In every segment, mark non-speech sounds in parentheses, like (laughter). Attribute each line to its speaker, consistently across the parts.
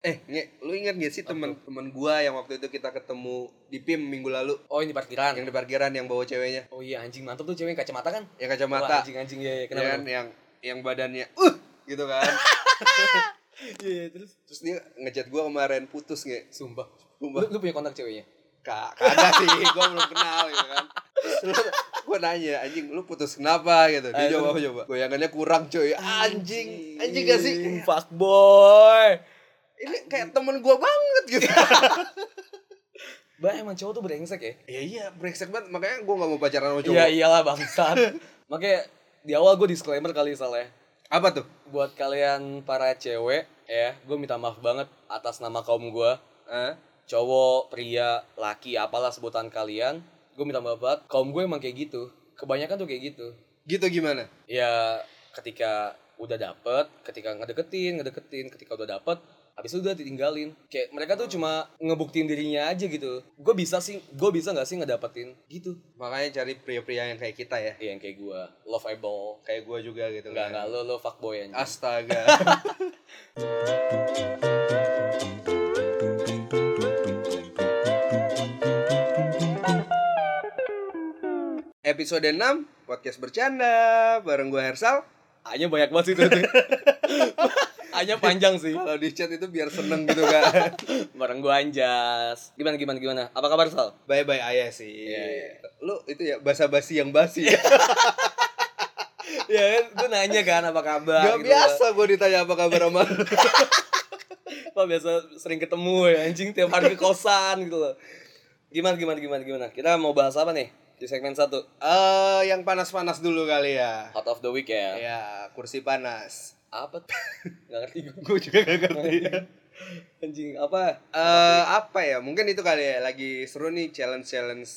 Speaker 1: Eh, nge, lu ingat gak sih teman-teman gua yang waktu itu kita ketemu di PIM minggu lalu?
Speaker 2: Oh ini di parkiran.
Speaker 1: Yang di parkiran yang bawa ceweknya,
Speaker 2: Oh iya anjing mantap tuh cewek yang kacamata kan?
Speaker 1: yang
Speaker 2: Wah,
Speaker 1: kacamata,
Speaker 2: anjing anjing ya, ya.
Speaker 1: ya
Speaker 2: kenapa?
Speaker 1: kan? yang yang badannya uh gitu kan.
Speaker 2: (laughs) tuh? Iya iya, terus
Speaker 1: Terus dia ngechat gua kemarin putus nge.
Speaker 2: sumpah.
Speaker 1: Sumpah.
Speaker 2: Lu, lu punya kontak ceweknya?
Speaker 1: Ka- kagak sih, gua belum kenal gitu kan. Terus gua nanya, anjing lu putus kenapa gitu. Dia
Speaker 2: Aduh.
Speaker 1: jawab apa coba? Goyangannya kurang coy. Anjing. Anjing gak sih?
Speaker 2: Fuck boy.
Speaker 1: Ini kayak temen gua banget
Speaker 2: (laughs)
Speaker 1: gitu.
Speaker 2: Bah emang cowok tuh brengsek ya?
Speaker 1: ya iya, brengsek banget. Makanya gua gak mau pacaran sama cowok.
Speaker 2: Iya iyalah bangsat. (laughs) Makanya di awal gue disclaimer kali salah ya.
Speaker 1: Apa tuh?
Speaker 2: Buat kalian para cewek ya, gue minta maaf banget atas nama kaum gue.
Speaker 1: Hah?
Speaker 2: Cowok, pria, laki, apalah sebutan kalian. Gue minta maaf banget. Kaum gue emang kayak gitu. Kebanyakan tuh kayak gitu.
Speaker 1: Gitu gimana?
Speaker 2: Ya ketika udah dapet, ketika ngedeketin, ngedeketin, ketika udah dapet, habis itu udah ditinggalin. Kayak mereka tuh cuma ngebuktiin dirinya aja gitu. Gue bisa sih, gue bisa nggak sih ngedapetin gitu?
Speaker 1: Makanya cari pria-pria yang kayak kita ya.
Speaker 2: Iya, yang kayak gue, loveable,
Speaker 1: Kayak gua juga gitu
Speaker 2: Enggak, enggak,
Speaker 1: kan.
Speaker 2: lo, lo fuckboy anjing (laughs)
Speaker 1: Astaga. Episode 6 Podcast Bercanda Bareng gue Hersal
Speaker 2: A-nya banyak banget (laughs) sih itu tuh. A-nya panjang sih
Speaker 1: Kalau di chat itu biar seneng gitu
Speaker 2: (laughs)
Speaker 1: kan
Speaker 2: Bareng gua Anjas Gimana, gimana, gimana? Apa kabar Sal?
Speaker 1: Bye-bye ayah sih
Speaker 2: Iya, iya.
Speaker 1: Lu itu ya basa-basi yang basi
Speaker 2: (laughs) ya kan, gua nanya kan apa kabar
Speaker 1: Gak
Speaker 2: gitu.
Speaker 1: biasa gue ditanya apa kabar sama lu.
Speaker 2: Apa biasa sering ketemu ya anjing tiap hari ke kosan gitu loh Gimana, gimana, gimana, gimana? Kita mau bahas apa nih? Di segmen 1
Speaker 1: Eh, Yang panas-panas dulu kali ya
Speaker 2: Hot of the week ya
Speaker 1: Ya kursi panas
Speaker 2: Apa tuh? (laughs) Gak ngerti gua
Speaker 1: Gue juga gak ngerti
Speaker 2: Iya.
Speaker 1: ya
Speaker 2: Anjing, apa?
Speaker 1: eh apa ya? Mungkin itu kali ya lagi seru nih challenge-challenge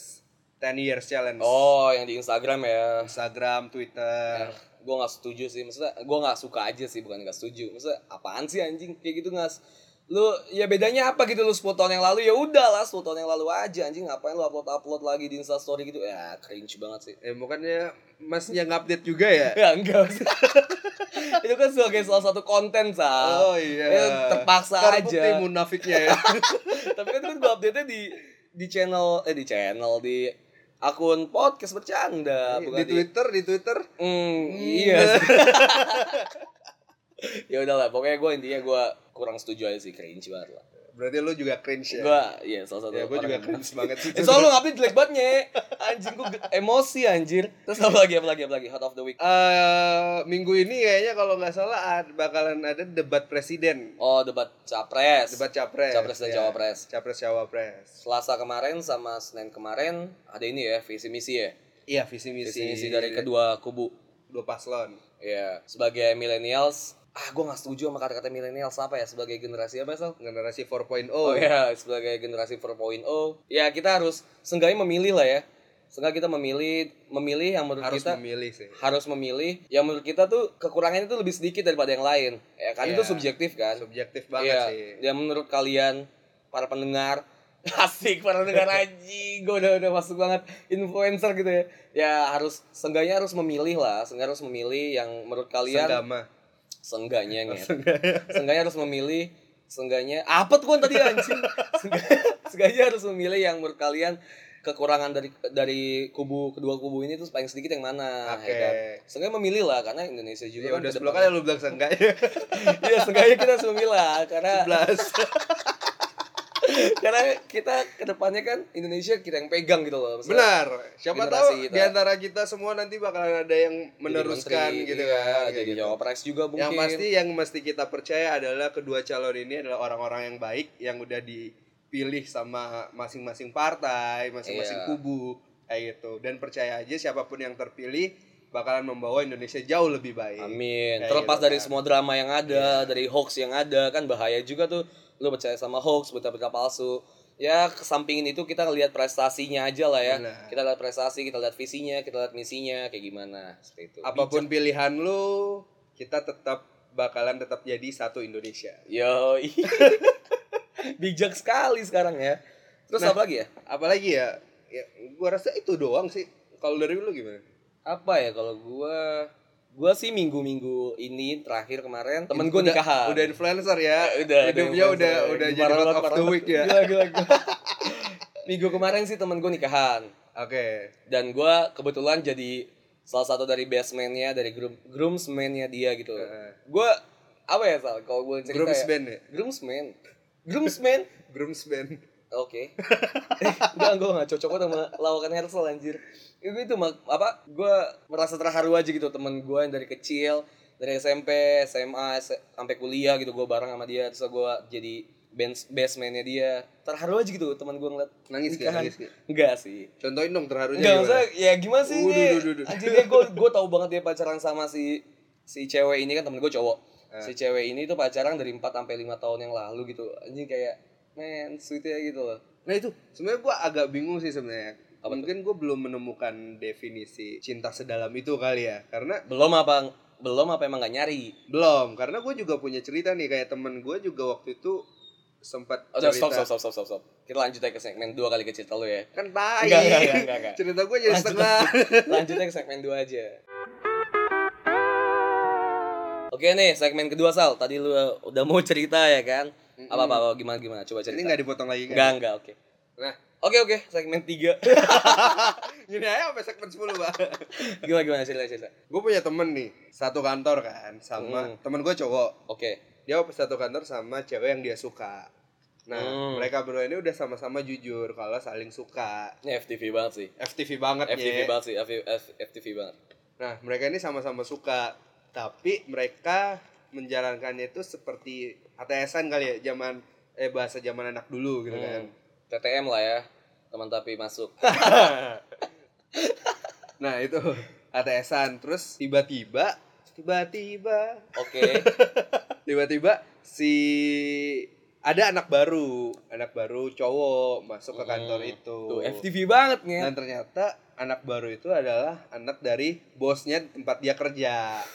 Speaker 1: 10 years challenge.
Speaker 2: Oh, yang di Instagram ya
Speaker 1: Instagram, Twitter.
Speaker 2: gue nggak setuju sih maksudnya gue nggak suka aja sih bukan nggak setuju maksudnya apaan sih anjing kayak gitu nggak s- lu ya bedanya apa gitu lu 10 tahun yang lalu ya udah lah 10 tahun yang lalu aja anjing ngapain lu upload upload lagi di instastory gitu ya cringe banget sih
Speaker 1: Eh bukannya masnya update juga ya?
Speaker 2: ya enggak (laughs) itu kan sebagai salah satu konten
Speaker 1: Oh
Speaker 2: sal
Speaker 1: iya.
Speaker 2: Ya, terpaksa
Speaker 1: Terbukti
Speaker 2: aja.
Speaker 1: munafiknya
Speaker 2: (laughs)
Speaker 1: ya.
Speaker 2: tapi kan itu kan gue update nya di di channel eh di channel di akun podcast bercanda Ah, bukan
Speaker 1: Iya, di Twitter, di Twitter.
Speaker 2: Hmm,
Speaker 1: Hmm. (laughs)
Speaker 2: iya. ya udahlah, pokoknya gue intinya gue kurang setuju aja sih cringe banget lah.
Speaker 1: Berarti lu juga cringe ya.
Speaker 2: Gue, iya salah satu.
Speaker 1: ya, gue
Speaker 2: orang
Speaker 1: juga
Speaker 2: yang-
Speaker 1: cringe banget sih.
Speaker 2: (laughs) Eh, soalnya lu ngapain jelek banget nye. Anjing gue emosi anjir. Terus apa lagi apa lagi apa lagi hot of the week.
Speaker 1: Eh, minggu ini kayaknya kalau nggak salah ad- bakalan ada debat presiden,
Speaker 2: Oh debat capres.
Speaker 1: debat capres, Ya.
Speaker 2: Capres dan cawapres.
Speaker 1: capres cawapres.
Speaker 2: Selasa kemarin sama Senin kemarin ada ini ya visi misi ya.
Speaker 1: Iya visi misi,
Speaker 2: Visi misi dari kedua kubu.
Speaker 1: dua paslon.
Speaker 2: Ya sebagai millennials. Ah gue nggak setuju sama kata-kata millennials apa ya sebagai generasi apa sih?
Speaker 1: generasi 4.0
Speaker 2: Oh ya, (laughs) sebagai generasi 4.0, ya kita harus seenggaknya memilih lah ya. Seenggaknya kita memilih memilih yang menurut
Speaker 1: harus
Speaker 2: kita
Speaker 1: memilih sih
Speaker 2: harus memilih yang menurut kita tuh kekurangannya tuh lebih sedikit daripada yang lain. Ya kan itu
Speaker 1: Iya.
Speaker 2: subjektif kan.
Speaker 1: subjektif banget
Speaker 2: Iya.
Speaker 1: sih
Speaker 2: Dan menurut kalian para pendengar (laughs) asik
Speaker 1: (laughs)
Speaker 2: para pendengar anjing gue udah udah masuk banget influencer gitu ya ya harus seenggaknya harus memilih lah seenggaknya harus memilih yang menurut kalian
Speaker 1: senggama
Speaker 2: seenggaknya nih Seenggaknya harus memilih Seenggaknya Apa tuh kan
Speaker 1: (laughs)
Speaker 2: tadi anjing Seenggaknya- Seenggaknya harus memilih yang menurut kalian Kekurangan dari dari kubu kedua kubu ini tuh paling sedikit yang mana
Speaker 1: oke
Speaker 2: ya kan? Seenggaknya memilih lah Karena Indonesia juga
Speaker 1: ya
Speaker 2: kan
Speaker 1: udah
Speaker 2: ke
Speaker 1: 10
Speaker 2: depan-
Speaker 1: kali lu bilang (laughs) senggaknya
Speaker 2: (laughs) Iya seenggaknya kita harus memilih lah Karena
Speaker 1: 11
Speaker 2: karena kita kedepannya kan Indonesia kita yang pegang gitu loh Maksudnya,
Speaker 1: benar siapa
Speaker 2: Generasi
Speaker 1: tahu
Speaker 2: kita.
Speaker 1: di antara kita semua nanti bakalan ada yang
Speaker 2: jadi
Speaker 1: meneruskan
Speaker 2: menteri,
Speaker 1: gitu
Speaker 2: iya,
Speaker 1: kan kayak
Speaker 2: Jadi
Speaker 1: gitu.
Speaker 2: cawapres juga mungkin
Speaker 1: yang pasti yang mesti kita percaya adalah kedua calon ini adalah orang-orang yang baik yang udah dipilih sama masing-masing partai masing-masing
Speaker 2: Iya.
Speaker 1: kubu kayak gitu dan percaya aja siapapun yang terpilih bakalan membawa Indonesia jauh lebih baik
Speaker 2: Amin.
Speaker 1: Kayak
Speaker 2: Terlepas
Speaker 1: gitu
Speaker 2: dari
Speaker 1: kan. Iya.
Speaker 2: semua drama yang ada, dari hoax yang ada, kan bahaya juga tuh. Lu percaya sama hoax, berita-berita palsu. Ya, kesampingin itu kita lihat prestasinya aja lah ya.
Speaker 1: Benar.
Speaker 2: Kita lihat prestasi, kita lihat visinya, kita lihat misinya, kayak gimana. Seperti itu.
Speaker 1: apapun pilihan lu kita tetap bakalan tetap jadi satu Indonesia
Speaker 2: Yo, (laughs) bijak sekali sekarang ya. Terus
Speaker 1: Nah.
Speaker 2: apa lagi ya?
Speaker 1: apalagi ya, ya gua rasa itu doang sih kalau dari lu gimana
Speaker 2: Apa ya kalau gua Gue sih minggu-minggu ini terakhir kemarin temen gue
Speaker 1: Udah-
Speaker 2: nikahan.
Speaker 1: Udah influencer ya.
Speaker 2: udah
Speaker 1: Hidupnya
Speaker 2: influencer. ya.
Speaker 1: udah udah jadi
Speaker 2: Parah
Speaker 1: lot
Speaker 2: banget,
Speaker 1: of
Speaker 2: parah
Speaker 1: the
Speaker 2: banget.
Speaker 1: week ya.
Speaker 2: Gila, gila, gila. (laughs) minggu kemarin sih temen gue nikahan
Speaker 1: Oke.
Speaker 2: dan gue kebetulan jadi salah satu dari basementnya dari groom groomsmennya dia gitu.
Speaker 1: Heeh.
Speaker 2: Gue apa ya sal? Kalau gue cerita
Speaker 1: Grooms
Speaker 2: ya.
Speaker 1: band ya.
Speaker 2: Groomsman. Groomsman.
Speaker 1: Grooms band.
Speaker 2: Oke. (laughs) Enggak, gue gak cocok banget sama lawakan Hersel anjir. Itu itu mak- apa? Gue merasa terharu aja gitu temen gue yang dari kecil, dari SMP, SMA, S- sampai kuliah gitu gue bareng sama dia, terus gue jadi band basementnya dia. Terharu aja gitu teman gue ngeliat.
Speaker 1: Nangis gak?
Speaker 2: nikahan.
Speaker 1: Nangis gak?
Speaker 2: Enggak sih.
Speaker 1: Contohin dong terharunya
Speaker 2: Enggak
Speaker 1: Iya, gimana?
Speaker 2: maksudnya ya gimana sih
Speaker 1: Waduh,
Speaker 2: ini?
Speaker 1: duh, duh, duh.
Speaker 2: Anjing dia gue gue tahu banget dia pacaran sama si si cewek ini kan temen gue cowok.
Speaker 1: Ah.
Speaker 2: Si cewek ini tuh pacaran dari 4 sampai 5 tahun yang lalu gitu. Anjing kayak men sweet ya gitu loh.
Speaker 1: Nah itu sebenarnya gue agak bingung sih sebenarnya. Mungkin gue belum menemukan definisi cinta sedalam itu kali ya. Karena
Speaker 2: Belum apa belum apa emang gak nyari?
Speaker 1: belum. Karena gue juga punya cerita nih kayak temen gue juga waktu itu sempat
Speaker 2: Oh,
Speaker 1: cerita.
Speaker 2: stop, stop, stop, stop, stop, stop. Kita lanjut aja ke segmen 2 kali ke cerita lu ya.
Speaker 1: Kan tai.
Speaker 2: Enggak, enggak, enggak, enggak, enggak.
Speaker 1: cerita gue jadi
Speaker 2: Lanjut.
Speaker 1: setengah.
Speaker 2: (laughs) Lanjut aja ke segmen 2 aja. Oke nih, segmen kedua Sal. Tadi lu eh, udah mau cerita ya kan? Apa apa, apa, gimana gimana? Coba
Speaker 1: Ini
Speaker 2: cerita.
Speaker 1: nggak dipotong lagi kan?
Speaker 2: Enggak, enggak, oke.
Speaker 1: Nah,
Speaker 2: Oke, oke, segmen 3.
Speaker 1: gini aja sampai segmen 10, Pak.
Speaker 2: (laughs) gimana gimana cerita cerita.
Speaker 1: gue punya temen nih, satu kantor kan
Speaker 2: Hmm.
Speaker 1: sama temen gue cowok.
Speaker 2: Oke.
Speaker 1: Dia satu kantor sama cewek yang dia suka. Nah,
Speaker 2: Hmm.
Speaker 1: mereka berdua ini udah sama-sama jujur kalau saling suka.
Speaker 2: Ini FTV banget sih.
Speaker 1: FTV banget ya.
Speaker 2: FTV banget sih, FTV, FTV banget.
Speaker 1: Nah, mereka ini sama-sama suka, tapi mereka menjalankannya itu seperti ATS-an kali ya, zaman eh bahasa zaman anak dulu gitu kan.
Speaker 2: Hmm. TTM lah ya. Teman tapi (laughs) masuk.
Speaker 1: (laughs) Nah, itu ATS-an. Terus tiba-tiba tiba-tiba
Speaker 2: Oke.
Speaker 1: tiba-tiba si ada anak baru, anak baru cowok masuk ke kantor
Speaker 2: Hmm.
Speaker 1: itu.
Speaker 2: Tuh, FTV banget nih.
Speaker 1: Dan ternyata anak baru itu adalah anak dari bosnya tempat dia kerja.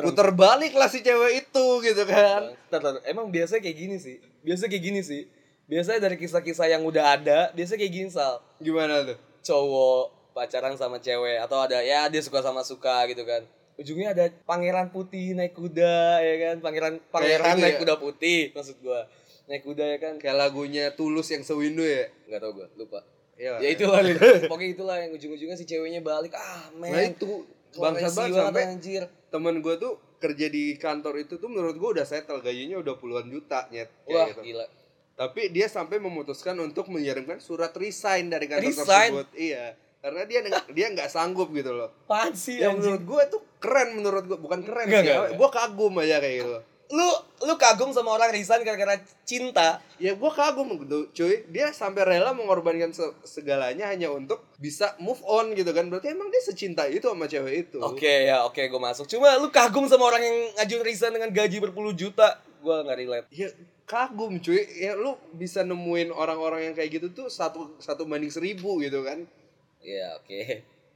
Speaker 1: Puter balik lah si cewek itu gitu kan.
Speaker 2: Bentar, bentar. Emang biasanya kayak gini sih. Biasanya kayak gini sih. Biasanya dari kisah-kisah yang udah ada, biasanya kayak gini sal.
Speaker 1: Gimana tuh?
Speaker 2: Cowok pacaran sama cewek atau ada ya dia suka sama suka gitu kan. Ujungnya ada pangeran putih naik kuda ya kan. Pangeran pangeran
Speaker 1: gitu
Speaker 2: naik
Speaker 1: ya?
Speaker 2: kuda putih maksud gua. Naik kuda ya kan.
Speaker 1: Kayak lagunya Tulus yang sewindu ya?
Speaker 2: Enggak tau gua, lupa.
Speaker 1: Iya.
Speaker 2: Ya itulah Lin. Pokoknya itulah yang ujung-ujungnya si ceweknya balik. Ah, men.
Speaker 1: Nah itu
Speaker 2: Bangsat banget sampai anjir.
Speaker 1: temen gue tuh kerja di kantor itu tuh menurut gue udah settle gajinya udah puluhan juta nyet kayak
Speaker 2: Wah, iya.
Speaker 1: gitu.
Speaker 2: gila.
Speaker 1: Tapi dia sampai memutuskan untuk mengirimkan surat resign dari kantor
Speaker 2: Resign?
Speaker 1: tersebut. Iya. Karena dia neng- dia nggak sanggup gitu loh.
Speaker 2: Apaan sih
Speaker 1: Yang
Speaker 2: anjir?
Speaker 1: menurut gue tuh keren menurut gue bukan keren
Speaker 2: Nggak,
Speaker 1: sih.
Speaker 2: nggak, nggak.
Speaker 1: Gue kagum aja kayak gitu.
Speaker 2: Lu lu kagum sama orang resign gara-gara cinta.
Speaker 1: Ya gue kagum gitu cuy. Dia sampai rela mengorbankan se- segalanya hanya untuk bisa move on gitu kan. Berarti emang dia secinta itu sama cewek itu.
Speaker 2: Oke ya, oke gue masuk. Cuma lu kagum sama orang yang ngajuin resign dengan gaji berpuluh juta. Gue nggak relate.
Speaker 1: Ya kagum cuy. Ya lu bisa nemuin orang-orang yang kayak gitu tuh satu satu banding seribu gitu kan.
Speaker 2: Iya, oke.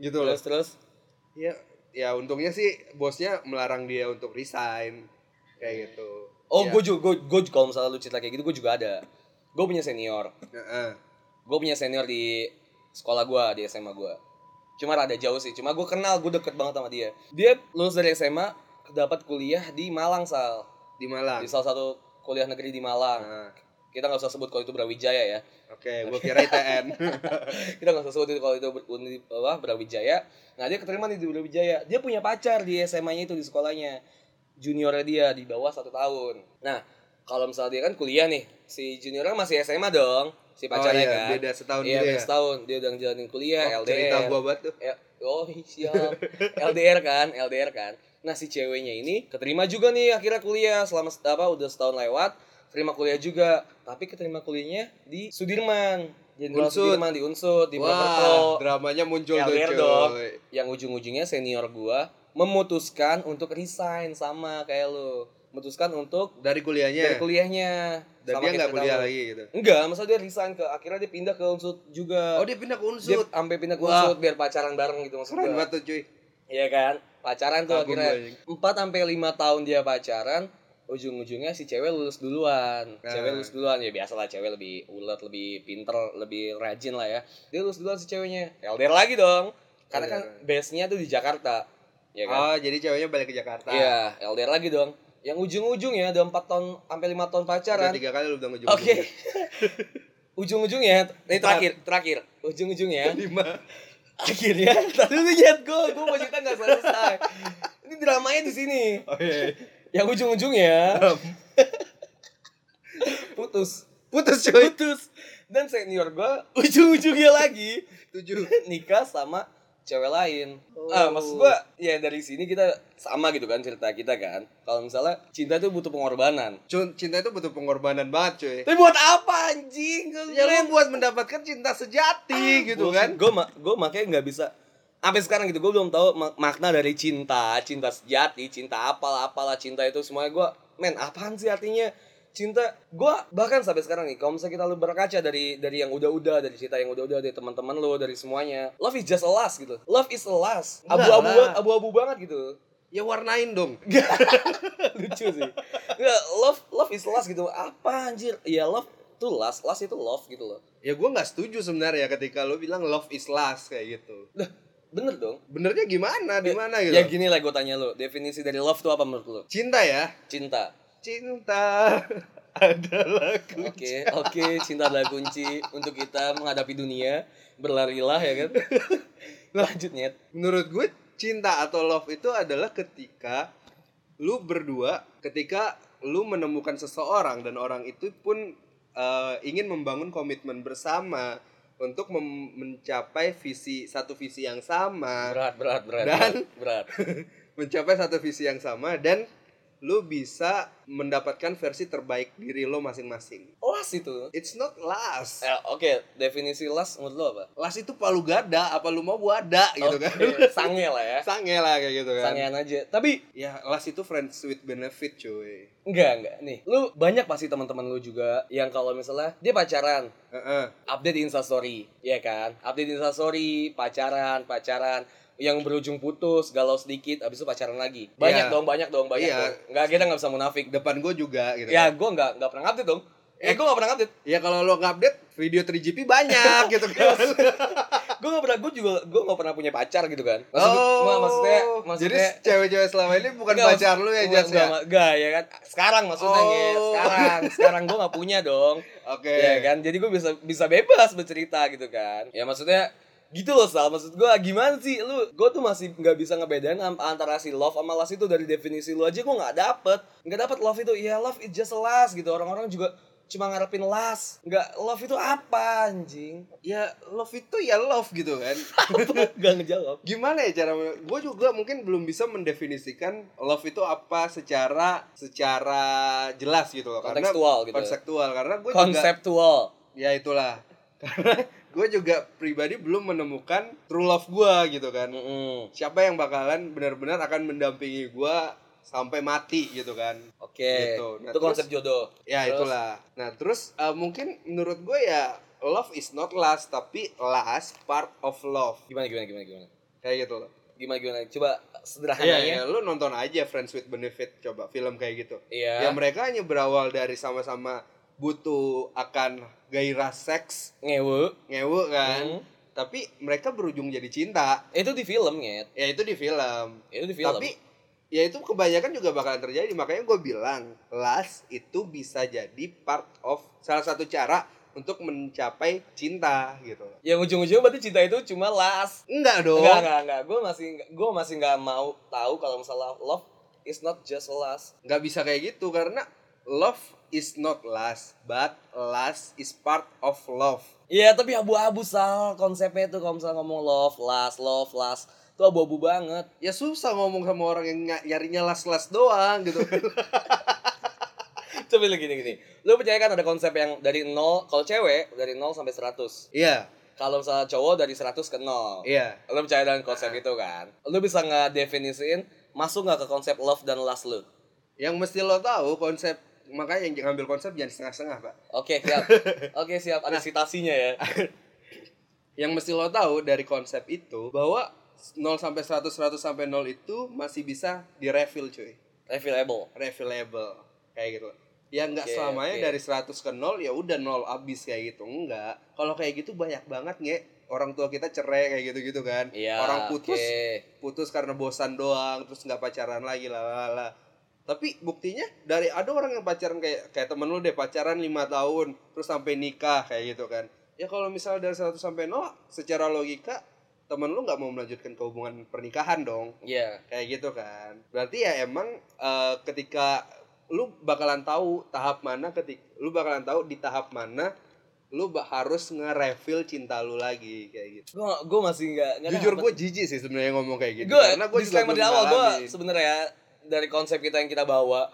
Speaker 1: Gitu loh.
Speaker 2: Terus terus.
Speaker 1: Ya ya untungnya sih bosnya melarang dia untuk resign kayak gitu.
Speaker 2: Oh,
Speaker 1: Ya.
Speaker 2: gue juga, gue gue kalau misalnya lu cerita kayak gitu, gue juga ada. Gue punya senior.
Speaker 1: Heeh.
Speaker 2: Gue punya senior di sekolah gue, di SMA gue. Cuma rada jauh sih. Cuma gue kenal, gue deket banget sama dia. Dia lulus dari SMA, dapat kuliah di Malang sal.
Speaker 1: di Malang.
Speaker 2: Di salah satu kuliah negeri di Malang.
Speaker 1: Heeh.
Speaker 2: Kita nggak usah sebut kalau itu Brawijaya ya.
Speaker 1: Oke, gua kira ITN.
Speaker 2: (laughs) kita nggak usah sebut itu kalau itu ber- Uni- apa, Brawijaya nah dia keterima di Brawijaya dia punya pacar di SMA-nya itu di sekolahnya juniornya dia di bawah satu tahun nah kalau misalnya dia kan kuliah nih si juniornya masih SMA dong si
Speaker 1: oh
Speaker 2: pacarnya
Speaker 1: iya,
Speaker 2: kan
Speaker 1: beda setahun
Speaker 2: iya
Speaker 1: gitu
Speaker 2: beda
Speaker 1: ya.
Speaker 2: setahun dia udah ngejalanin kuliah
Speaker 1: Oh, cerita
Speaker 2: LDR
Speaker 1: gua banget tuh.
Speaker 2: Eh, oh siap LDR kan LDR kan nah si ceweknya ini keterima juga nih akhirnya kuliah selama set- apa udah setahun lewat terima kuliah juga tapi keterima kuliahnya di Sudirman Jenderal
Speaker 1: Unsud.
Speaker 2: Sudirman di Unsud di
Speaker 1: Wah,
Speaker 2: Purwokerto
Speaker 1: dramanya muncul tuh
Speaker 2: LDR
Speaker 1: cuy.
Speaker 2: dong. yang ujung-ujungnya senior gua memutuskan untuk resign sama kayak lo memutuskan untuk
Speaker 1: Dari kuliahnya.
Speaker 2: dari kuliahnya
Speaker 1: Iya. Dan dia
Speaker 2: Sama kayak
Speaker 1: nggak
Speaker 2: cerita
Speaker 1: kuliah
Speaker 2: lo.
Speaker 1: lagi gitu.
Speaker 2: enggak masa dia resign ke akhirnya dia pindah ke Unsud juga
Speaker 1: Oh, dia pindah ke
Speaker 2: dia
Speaker 1: Unsur.
Speaker 2: sampai pindah ke
Speaker 1: Wah.
Speaker 2: Unsud biar pacaran bareng gitu maksudnya
Speaker 1: Keren banget tuh cuy.
Speaker 2: Iya kan? Pacaran tuh
Speaker 1: Kagum
Speaker 2: akhirnya
Speaker 1: gua, anjing.
Speaker 2: 4 sampai 5 tahun dia pacaran, ujung-ujungnya si cewek lulus duluan.
Speaker 1: Nah.
Speaker 2: Cewek lulus duluan ya biasalah cewek lebih ulet, lebih pinter, lebih rajin lah ya. Dia lulus duluan si ceweknya. LDR lagi dong. Karena kan
Speaker 1: LDR.
Speaker 2: base-nya tuh di Jakarta. ya kan?
Speaker 1: Oh, jadi ceweknya balik ke Jakarta.
Speaker 2: Iya, LDR lagi dong. Yang ujung-ujung ya, udah 4 tahun sampai 5 tahun pacaran.
Speaker 1: Udah tiga kali lu udah ngejumpa. (laughs)
Speaker 2: Oke. (laughs) ujung-ujungnya, ini terakhir, terakhir. Ujung-ujungnya
Speaker 1: Lima.
Speaker 2: akhirnya tadi (laughs) lu lihat gue, gue mau cerita nggak selesai. Ini dramanya di sini.
Speaker 1: Oh iya. (laughs) iya.
Speaker 2: Yang ujung-ujungnya putus.
Speaker 1: Putus cuy.
Speaker 2: Putus. Dan senior gue (laughs) ujung-ujungnya lagi
Speaker 1: Tujuh.
Speaker 2: nikah sama cewek lain.
Speaker 1: Oh.
Speaker 2: Ah, maksud gua ya dari sini kita sama gitu kan cerita kita kan. Kalau misalnya cinta itu butuh pengorbanan.
Speaker 1: Cun- Cinta itu butuh pengorbanan banget cuy.
Speaker 2: Tapi buat apa anjing?
Speaker 1: Ya lu buat mendapatkan cinta
Speaker 2: Ah,
Speaker 1: sejati gitu kan.
Speaker 2: Gue gue makanya nggak bisa sampai sekarang gitu gue belum tahu mak- makna dari cinta cinta sejati cinta apalah apalah cinta itu semuanya gue men apaan sih artinya cinta gue bahkan sampai sekarang nih kalau misalnya kita lu berkaca dari dari yang udah-udah dari cerita yang udah-udah dari teman-teman lo dari semuanya love is just a lust gitu love is a lust
Speaker 1: Enggak
Speaker 2: abu-abu
Speaker 1: lah.
Speaker 2: abu-abu banget
Speaker 1: (laughs)
Speaker 2: gitu
Speaker 1: Ya warnain dong.
Speaker 2: lucu sih Nggak, love love is lust gitu apa anjir ya love tuh lust lust itu love gitu loh
Speaker 1: Ya gua nggak setuju sebenarnya ketika lu bilang love is lust kayak gitu.
Speaker 2: Lah, bener dong
Speaker 1: Benernya gimana? Di mana gitu?
Speaker 2: ya gini lah gue tanya lo definisi dari love tuh apa menurut lo
Speaker 1: Cinta ya.
Speaker 2: cinta
Speaker 1: Cinta (laughs) adalah ku-
Speaker 2: oke oke cinta adalah kunci untuk kita menghadapi dunia berlarilah ya kan lanjut nyet
Speaker 1: Menurut gue cinta atau love itu adalah ketika lu berdua ketika lu menemukan seseorang dan orang itu pun eh, ingin membangun komitmen bersama untuk mem- mencapai visi satu visi yang sama.
Speaker 2: berat berat berat
Speaker 1: Dan-
Speaker 2: berat, berat.
Speaker 1: mencapai satu visi yang sama dan lu bisa mendapatkan versi terbaik diri lo masing-masing.
Speaker 2: las itu
Speaker 1: It's not last.
Speaker 2: Eh, oke definisi las menurut lo apa
Speaker 1: Last itu palu gada, apa lu mau wada gitu kan. (laughs)
Speaker 2: Oke, sange lah ya
Speaker 1: Sange lah kayak gitu kan.
Speaker 2: sangean aja tapi
Speaker 1: Ya, last itu friends with benefit, cuy.
Speaker 2: Enggak, enggak. Nih, lu banyak pasti teman-teman lu juga yang kalau misalnya dia pacaran,
Speaker 1: Heeh.
Speaker 2: update di instastory, ya kan? Update di instastory, pacaran, pacaran, yang berujung putus, galau sedikit, abis itu pacaran lagi. Banyak
Speaker 1: Iya.
Speaker 2: dong, banyak dong, banyak
Speaker 1: Iya.
Speaker 2: dong. Enggak, kita nggak bisa munafik.
Speaker 1: Depan gue juga gitu.
Speaker 2: Ya,
Speaker 1: kan.
Speaker 2: gua enggak enggak pernah update dong. Eh, gua enggak pernah update.
Speaker 1: Ya kalau lo update video 3GP banyak gitu kan.
Speaker 2: Gua enggak pernah, gua juga gua enggak pernah punya pacar gitu kan. Maksud, ma- maksudnya
Speaker 1: Oh, jadi
Speaker 2: maksudnya
Speaker 1: cewek-cewek selama ini bukan
Speaker 2: Enggak,
Speaker 1: pacar
Speaker 2: maksud-
Speaker 1: lu ya,
Speaker 2: enggak,
Speaker 1: Jas
Speaker 2: enggak,
Speaker 1: ya?
Speaker 2: enggak, ya kan. Sekarang maksudnya,
Speaker 1: Oh.
Speaker 2: Nge. sekarang, sekarang gua enggak punya dong.
Speaker 1: Oke.
Speaker 2: ya kan jadi gue bisa bisa bebas bercerita gitu kan ya maksudnya gitu loh Sal maksud gue gimana sih lu gue tuh masih nggak bisa ngebedain am- antara si love sama lust itu dari definisi lu aja gue nggak dapet nggak dapet love itu ya love is just lust gitu orang-orang juga cuma ngarepin lust nggak love itu apa
Speaker 1: (laughs)
Speaker 2: anjing
Speaker 1: Ya love itu ya love gitu kan.
Speaker 2: nggak ngejawab
Speaker 1: gimana ya cara gue juga mungkin belum bisa mendefinisikan love itu apa secara secara jelas gitu loh karena
Speaker 2: Kontekstual gitu.
Speaker 1: konsektual karena gue juga
Speaker 2: konseptual
Speaker 1: ya itulah (laughs) karena gue juga pribadi belum menemukan true love gue gitu kan
Speaker 2: Mm-mm.
Speaker 1: siapa yang bakalan benar-benar akan mendampingi gue sampai mati gitu kan
Speaker 2: oke
Speaker 1: Gitu. Nah,
Speaker 2: itu konsep jodoh
Speaker 1: ya
Speaker 2: Terus?
Speaker 1: itulah nah terus eh, mungkin menurut gue ya love is not last tapi last part of love
Speaker 2: gimana gimana gimana gimana
Speaker 1: kayak gitu loh
Speaker 2: gimana gimana coba
Speaker 1: Iya,
Speaker 2: sederhananya
Speaker 1: ya, lu nonton aja Friends with Benefit coba film kayak gitu.
Speaker 2: Iya.
Speaker 1: Ya mereka hanya berawal dari sama-sama butuh akan gairah seks,
Speaker 2: ngewe
Speaker 1: ngewe kan.
Speaker 2: Hmm.
Speaker 1: Tapi mereka berujung jadi cinta.
Speaker 2: itu di film Nyet.
Speaker 1: Ya itu di film.
Speaker 2: itu di film
Speaker 1: Tapi ya itu kebanyakan juga bakalan terjadi. Makanya gue bilang, last itu bisa jadi part of salah satu cara untuk mencapai cinta gitu.
Speaker 2: yang Ya, ujung-ujungnya berarti cinta itu cuma las
Speaker 1: Enggak dong.
Speaker 2: enggak enggak enggak gue masih gue masih nggak mau tahu kalau misalnya love is not just las
Speaker 1: nggak bisa kayak gitu karena love is not last but last is part of love
Speaker 2: Iya tapi abu-abu sal konsepnya itu kalau misalnya ngomong love las love las itu abu-abu (laughs) banget
Speaker 1: ya susah ngomong sama orang yang ny- nyarinya last last doang
Speaker 2: (laughs)
Speaker 1: gitu
Speaker 2: coba lu gini gini lu percaya kan ada konsep yang dari nol kalau cewek dari nol sampai 100
Speaker 1: iya
Speaker 2: kalau misalnya cowok dari 100 ke nol
Speaker 1: iya
Speaker 2: lu percaya dengan konsep itu kan lu bisa ngedefinisiin masuk nggak ke konsep love dan las lu
Speaker 1: yang mesti lo tahu konsep makanya yang ngambil konsep jangan setengah-setengah pak
Speaker 2: oke
Speaker 1: (laughs)
Speaker 2: siap oke siap
Speaker 1: Nah.
Speaker 2: ada citasinya ya
Speaker 1: yang mesti lo tahu dari konsep itu bahwa 0 sampai 100 100 sampai 0 itu masih bisa direfill cuy
Speaker 2: available
Speaker 1: refillable kayak gitu ya nggak
Speaker 2: Oke,
Speaker 1: selamanya
Speaker 2: oke.
Speaker 1: dari 100 ke 0 ya udah 0 abis kayak gitu enggak kalau kayak gitu banyak banget nge orang tua kita cerai kayak gitu gitu kan
Speaker 2: Iya,
Speaker 1: orang putus
Speaker 2: oke.
Speaker 1: putus karena bosan doang terus nggak pacaran lagi lah lah lah. tapi buktinya dari ada orang yang pacaran kayak kayak temen lu deh pacaran lima tahun terus sampai nikah kayak gitu kan ya kalau misalnya dari 1 sampai 0 secara logika temen lu nggak mau melanjutkan ke hubungan pernikahan dong
Speaker 2: Iya.
Speaker 1: kayak gitu kan berarti ya emang eh, ketika lu bakalan tahu tahap mana ketik lu bakalan tahu di tahap mana lu ba- harus nge-refill cinta lu lagi kayak gitu
Speaker 2: Gue gue masih nggak nggak
Speaker 1: jujur
Speaker 2: dapet.
Speaker 1: gue jijik sih sebenarnya ngomong kayak gitu
Speaker 2: gue
Speaker 1: karena gue
Speaker 2: disclaimer di awal gue sebenarnya ya, dari konsep kita yang kita bawa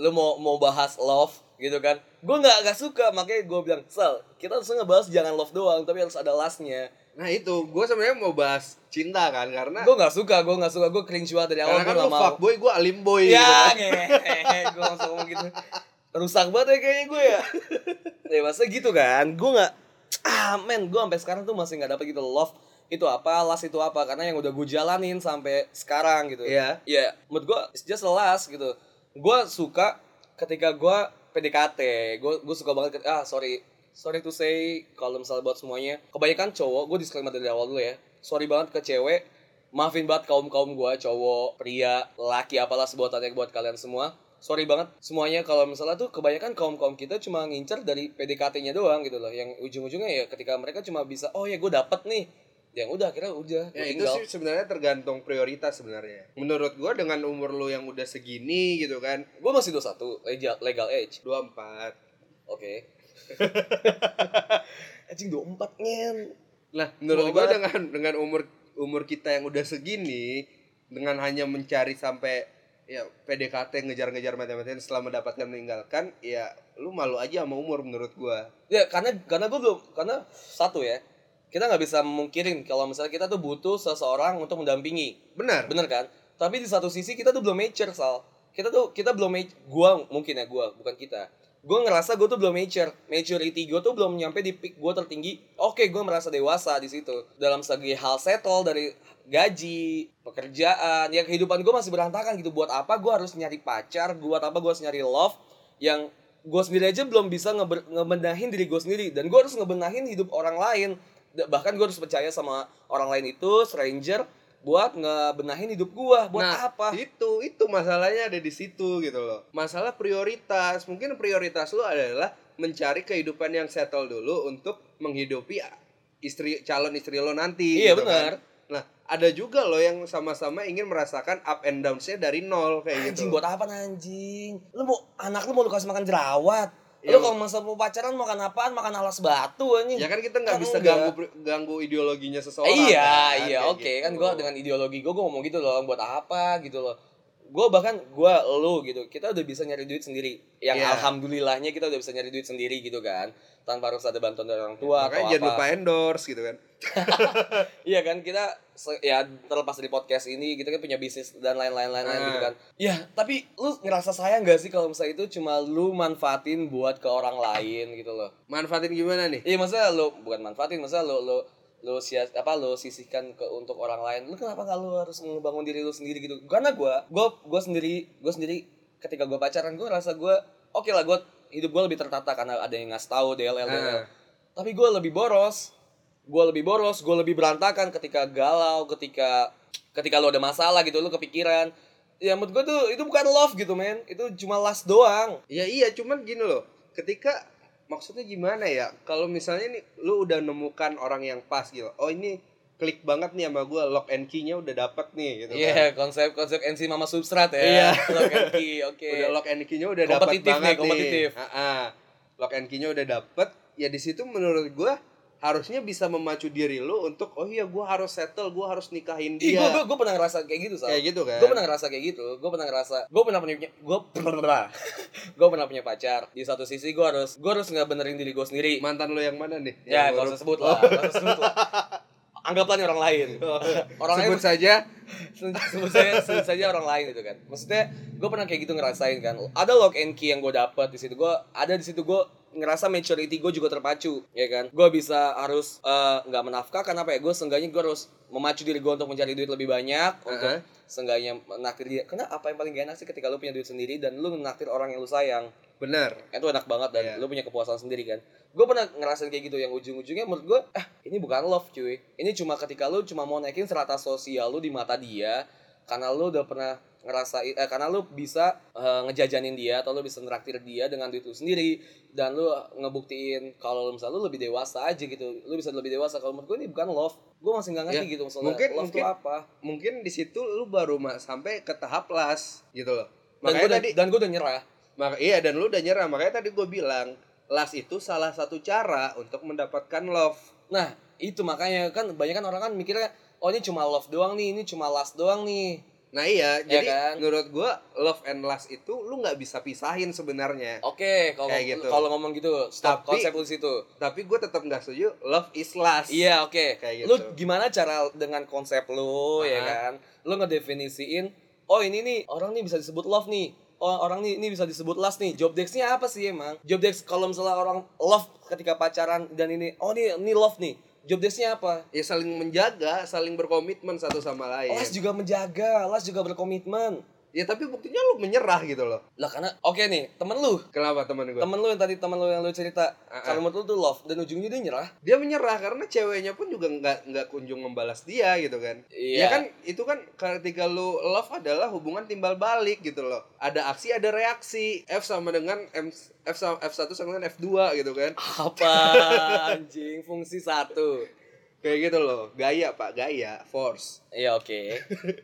Speaker 2: lu mau mau bahas love gitu kan gue nggak nggak suka makanya gue bilang sel kita harus ngebahas jangan love doang tapi harus ada lastnya
Speaker 1: nah itu gue sebenarnya mau bahas cinta kan karena
Speaker 2: gue nggak suka gue nggak suka gue cringe banget dari awal
Speaker 1: karena kan
Speaker 2: gue
Speaker 1: lu
Speaker 2: Oh, nggak mau
Speaker 1: fuckboy gue alim boy gitu
Speaker 2: ya
Speaker 1: kan.
Speaker 2: ngehe gue langsung ngomong gitu rusak banget ya kayaknya gue ya ya masa gitu kan gue nggak ah men gue sampai sekarang tuh masih nggak dapet gitu love itu apa last itu apa karena yang udah gue jalanin sampai sekarang gitu
Speaker 1: Iya.
Speaker 2: ya menurut gue it's just the last gitu gue suka ketika gue PDKT gue gue suka banget ke- ah sorry sorry to say kalau misalnya buat semuanya kebanyakan cowok gue disclaimer dari awal dulu ya sorry banget ke cewek maafin banget kaum kaum gue cowok pria laki apalah sebuatannya buat kalian semua sorry banget semuanya kalau misalnya tuh kebanyakan kaum kaum kita cuma ngincer dari PDKT-nya doang gitu loh yang ujung ujungnya ya ketika mereka cuma bisa oh ya gue dapet nih yang udah akhirnya udah
Speaker 1: Ya,
Speaker 2: gua
Speaker 1: itu
Speaker 2: tinggal.
Speaker 1: sih sebenarnya tergantung prioritas sebenarnya. Menurut gue dengan umur lu yang udah segini gitu kan,
Speaker 2: Gue masih 21, legal, legal age.
Speaker 1: 24.
Speaker 2: Oke. (laughs) Anjing 24 ngen.
Speaker 1: Nah, menurut
Speaker 2: Mau
Speaker 1: gua
Speaker 2: banget.
Speaker 1: dengan dengan umur umur kita yang udah segini dengan hanya mencari sampai ya PDKT ngejar-ngejar mati-matian setelah mendapatkan meninggalkan ya lu malu aja sama umur menurut gua.
Speaker 2: Ya karena karena gue belum karena satu ya. Kita nggak bisa memungkirin kalau misalnya kita tuh butuh seseorang untuk mendampingi.
Speaker 1: Benar.
Speaker 2: Bener kan? Tapi di satu sisi kita tuh belum mature, Sal. Kita tuh kita belum ma- gua mungkin ya gua, bukan kita. Gue ngerasa gue tuh belum mature. Maturity gue tuh belum nyampe di peak gue tertinggi. Oke, gue merasa dewasa di situ. Dalam segi hal settle dari gaji, pekerjaan, ya kehidupan gue masih berantakan gitu. Buat apa gue harus nyari pacar? Buat apa gue harus nyari love yang gue sendiri aja belum bisa ngeber- ngebenahin diri gue sendiri dan gue harus ngebenahin hidup orang lain Da- bahkan gue harus percaya sama orang lain itu stranger buat ngebenahin hidup gue buat
Speaker 1: Nah,
Speaker 2: apa
Speaker 1: Itu itu masalahnya ada di situ gitu loh. Masalah prioritas. Mungkin prioritas lu adalah mencari kehidupan yang settle dulu untuk menghidupi istri calon istri lo nanti.
Speaker 2: iya
Speaker 1: gitu kan.
Speaker 2: benar
Speaker 1: Nah, ada juga loh yang sama-sama ingin merasakan up and downs-nya dari nol kayak
Speaker 2: anjing
Speaker 1: gitu.
Speaker 2: buat apa anjing lu mau anak lu mau lu kasih makan jerawat
Speaker 1: Iya.
Speaker 2: lu kalau masa mau pacaran makan apaan makan alas batu anjing
Speaker 1: Ya kan kita nggak
Speaker 2: Kan
Speaker 1: bisa
Speaker 2: enggak.
Speaker 1: ganggu ganggu ideologinya seseorang.
Speaker 2: iya
Speaker 1: kan,
Speaker 2: iya
Speaker 1: kayak
Speaker 2: oke kan
Speaker 1: gitu.
Speaker 2: gue dengan ideologi gue gue ngomong gitu loh buat apa gitu loh gue bahkan gue lo gitu kita udah bisa nyari duit sendiri yang
Speaker 1: Iya.
Speaker 2: alhamdulillahnya kita udah bisa nyari duit sendiri gitu kan tanpa harus ada bantuan dari orang tua
Speaker 1: Makanya
Speaker 2: atau
Speaker 1: jangan
Speaker 2: apa
Speaker 1: lupa endorse gitu kan.
Speaker 2: iya kan kita se- ya terlepas dari podcast ini kita kan punya bisnis dan lain-lain lain-lain gitu
Speaker 1: Ah.
Speaker 2: kan ya tapi lu ngerasa sayang gak sih kalau misalnya itu cuma lu manfaatin buat ke orang lain gitu loh
Speaker 1: Manfaatin gimana nih?
Speaker 2: Iya maksudnya lo bukan manfaatin maksudnya lo lo lo sia, apa lo sisihkan ke untuk orang lain lu kenapa nggak lo harus ngebangun diri lu sendiri gitu karena gue gue gue sendiri gue sendiri ketika gue pacaran gue rasa gue oke lah gue hidup gue lebih tertata karena ada yang ngasih tahu DLL DLL
Speaker 1: Ah.
Speaker 2: tapi gue lebih boros gue lebih boros gue lebih berantakan ketika galau ketika ketika lo ada masalah gitu lo kepikiran ya menurut gue tuh itu bukan love gitu men itu cuma last doang
Speaker 1: Ya iya, cuman gini loh. Ketika maksudnya gimana ya? Kalau misalnya nih lu udah nemukan orang yang pas gitu. Oh, ini klik banget nih sama gua lock and key-nya udah dapat nih gitu kan.
Speaker 2: Iya, konsep konsep NC Mama Substrat ya.
Speaker 1: Iya.
Speaker 2: Lock and key, (laughs) oke.
Speaker 1: (laughs) Udah lock and key-nya udah dapat
Speaker 2: Kompetitif nih,
Speaker 1: banget nih.
Speaker 2: kompetitif.
Speaker 1: Ah-ah. Lock and key-nya udah dapat. Ya di situ menurut gua harusnya bisa memacu diri lu untuk oh iya gua harus settle, gua harus nikahin
Speaker 2: Ih, gue
Speaker 1: dia.
Speaker 2: gue pernah ngerasa kayak gitu, Sal.
Speaker 1: Iya. Kayak gitu kan.
Speaker 2: Gue pernah ngerasa kayak gitu. Gue pernah ngerasa, gue pernah punya, (laughs) gue pernah, gue pernah punya pacar. Di satu sisi gue harus, gue harus nggak benerin diri gue sendiri.
Speaker 1: mantan lo yang mana nih?
Speaker 2: Ya,
Speaker 1: Yang
Speaker 2: gak
Speaker 1: baru-
Speaker 2: usah sebut lah, gak usah sebut lah.
Speaker 1: (laughs)
Speaker 2: Anggaplah nih orang lain. Orang lain
Speaker 1: sebut saja.
Speaker 2: sebut saja sebut saja orang lain gitu kan maksudnya gue pernah kayak gitu ngerasain kan ada lock and key yang gue dapet di situ gue ada di situ gue ngerasa maturity gue juga terpacu ya kan gue bisa harus eh, nggak menafkahkan apa ya gue seenggaknya gue harus memacu diri gue untuk mencari duit lebih banyak untuk
Speaker 1: Heeh.
Speaker 2: seenggaknya menaktir dia karena apa yang paling gak enak sih ketika lu punya duit sendiri dan lu menaktir orang yang lu sayang
Speaker 1: Benar.
Speaker 2: itu Kan enak banget dan
Speaker 1: Iya.
Speaker 2: lu punya kepuasan sendiri kan gue pernah ngerasain kayak gitu yang ujung-ujungnya menurut gue ah ini bukan love cuy ini cuma ketika lu cuma mau naikin serata sosial lu di mata dia karena lu udah pernah ngerasain eh, karena lu bisa eh, ngejajanin dia atau lu bisa neraktir dia dengan duit lu sendiri dan lu ngebuktiin kalau lu misalnya lu lebih dewasa aja gitu lu bisa lebih dewasa kalau menurut gue ini bukan love gue masih nggak ngerti
Speaker 1: Ya,
Speaker 2: gitu maksudnya
Speaker 1: mungkin-
Speaker 2: love
Speaker 1: mungkin-
Speaker 2: tuh apa
Speaker 1: Mungkin di situ lu baru ma- sampai ke tahap las gitu loh.
Speaker 2: dan gue
Speaker 1: Makanya tadi
Speaker 2: dan gue udah nyerah
Speaker 1: Maka, iya dan lu udah nyerah makanya tadi gue bilang las itu salah satu cara untuk mendapatkan love.
Speaker 2: Nah, itu makanya kan banyak kan orang kan mikirnya oh ini cuma love doang nih, ini cuma last doang nih.
Speaker 1: Nah iya,
Speaker 2: Iya
Speaker 1: jadi
Speaker 2: kan?
Speaker 1: menurut gue love and lust itu lu nggak bisa pisahin sebenarnya.
Speaker 2: Oke, kalau
Speaker 1: Kayak gitu.
Speaker 2: kalau ngomong gitu, stop
Speaker 1: Tapi-
Speaker 2: konsep lu di situ.
Speaker 1: Tapi gue tetap nggak setuju love is lust.
Speaker 2: Iya, oke.
Speaker 1: Kayak gitu.
Speaker 2: Lu gimana cara dengan konsep lu ya
Speaker 1: Aha.
Speaker 2: kan? Lu ngedefinisiin oh ini nih orang nih bisa disebut love nih. Oh, orang nih ini bisa disebut last nih. Job desk-nya apa sih emang? Job desk kalau misalnya orang love ketika pacaran dan ini oh ini ini love nih. Job desk-nya apa?
Speaker 1: Ya saling menjaga, saling berkomitmen satu sama lain.
Speaker 2: Last juga menjaga, last juga berkomitmen.
Speaker 1: Ya tapi buktinya lu menyerah gitu loh.
Speaker 2: Lah karena oke nih, temen lu
Speaker 1: Kenapa teman gue?
Speaker 2: temen lu yang tadi temen lu yang lu cerita
Speaker 1: Ah, ah.
Speaker 2: kalau menurut lu tuh love dan ujungnya dia nyerah
Speaker 1: dia menyerah karena ceweknya pun juga nggak nggak kunjung membalas dia gitu kan
Speaker 2: Iya.
Speaker 1: ya kan itu kan ketika lu love adalah hubungan timbal balik gitu loh ada aksi ada reaksi F sama dengan M F sama F1 sama dengan F2 gitu kan
Speaker 2: apa anjing fungsi satu
Speaker 1: kayak gitu loh gaya pak gaya force (laughs)
Speaker 2: iya oke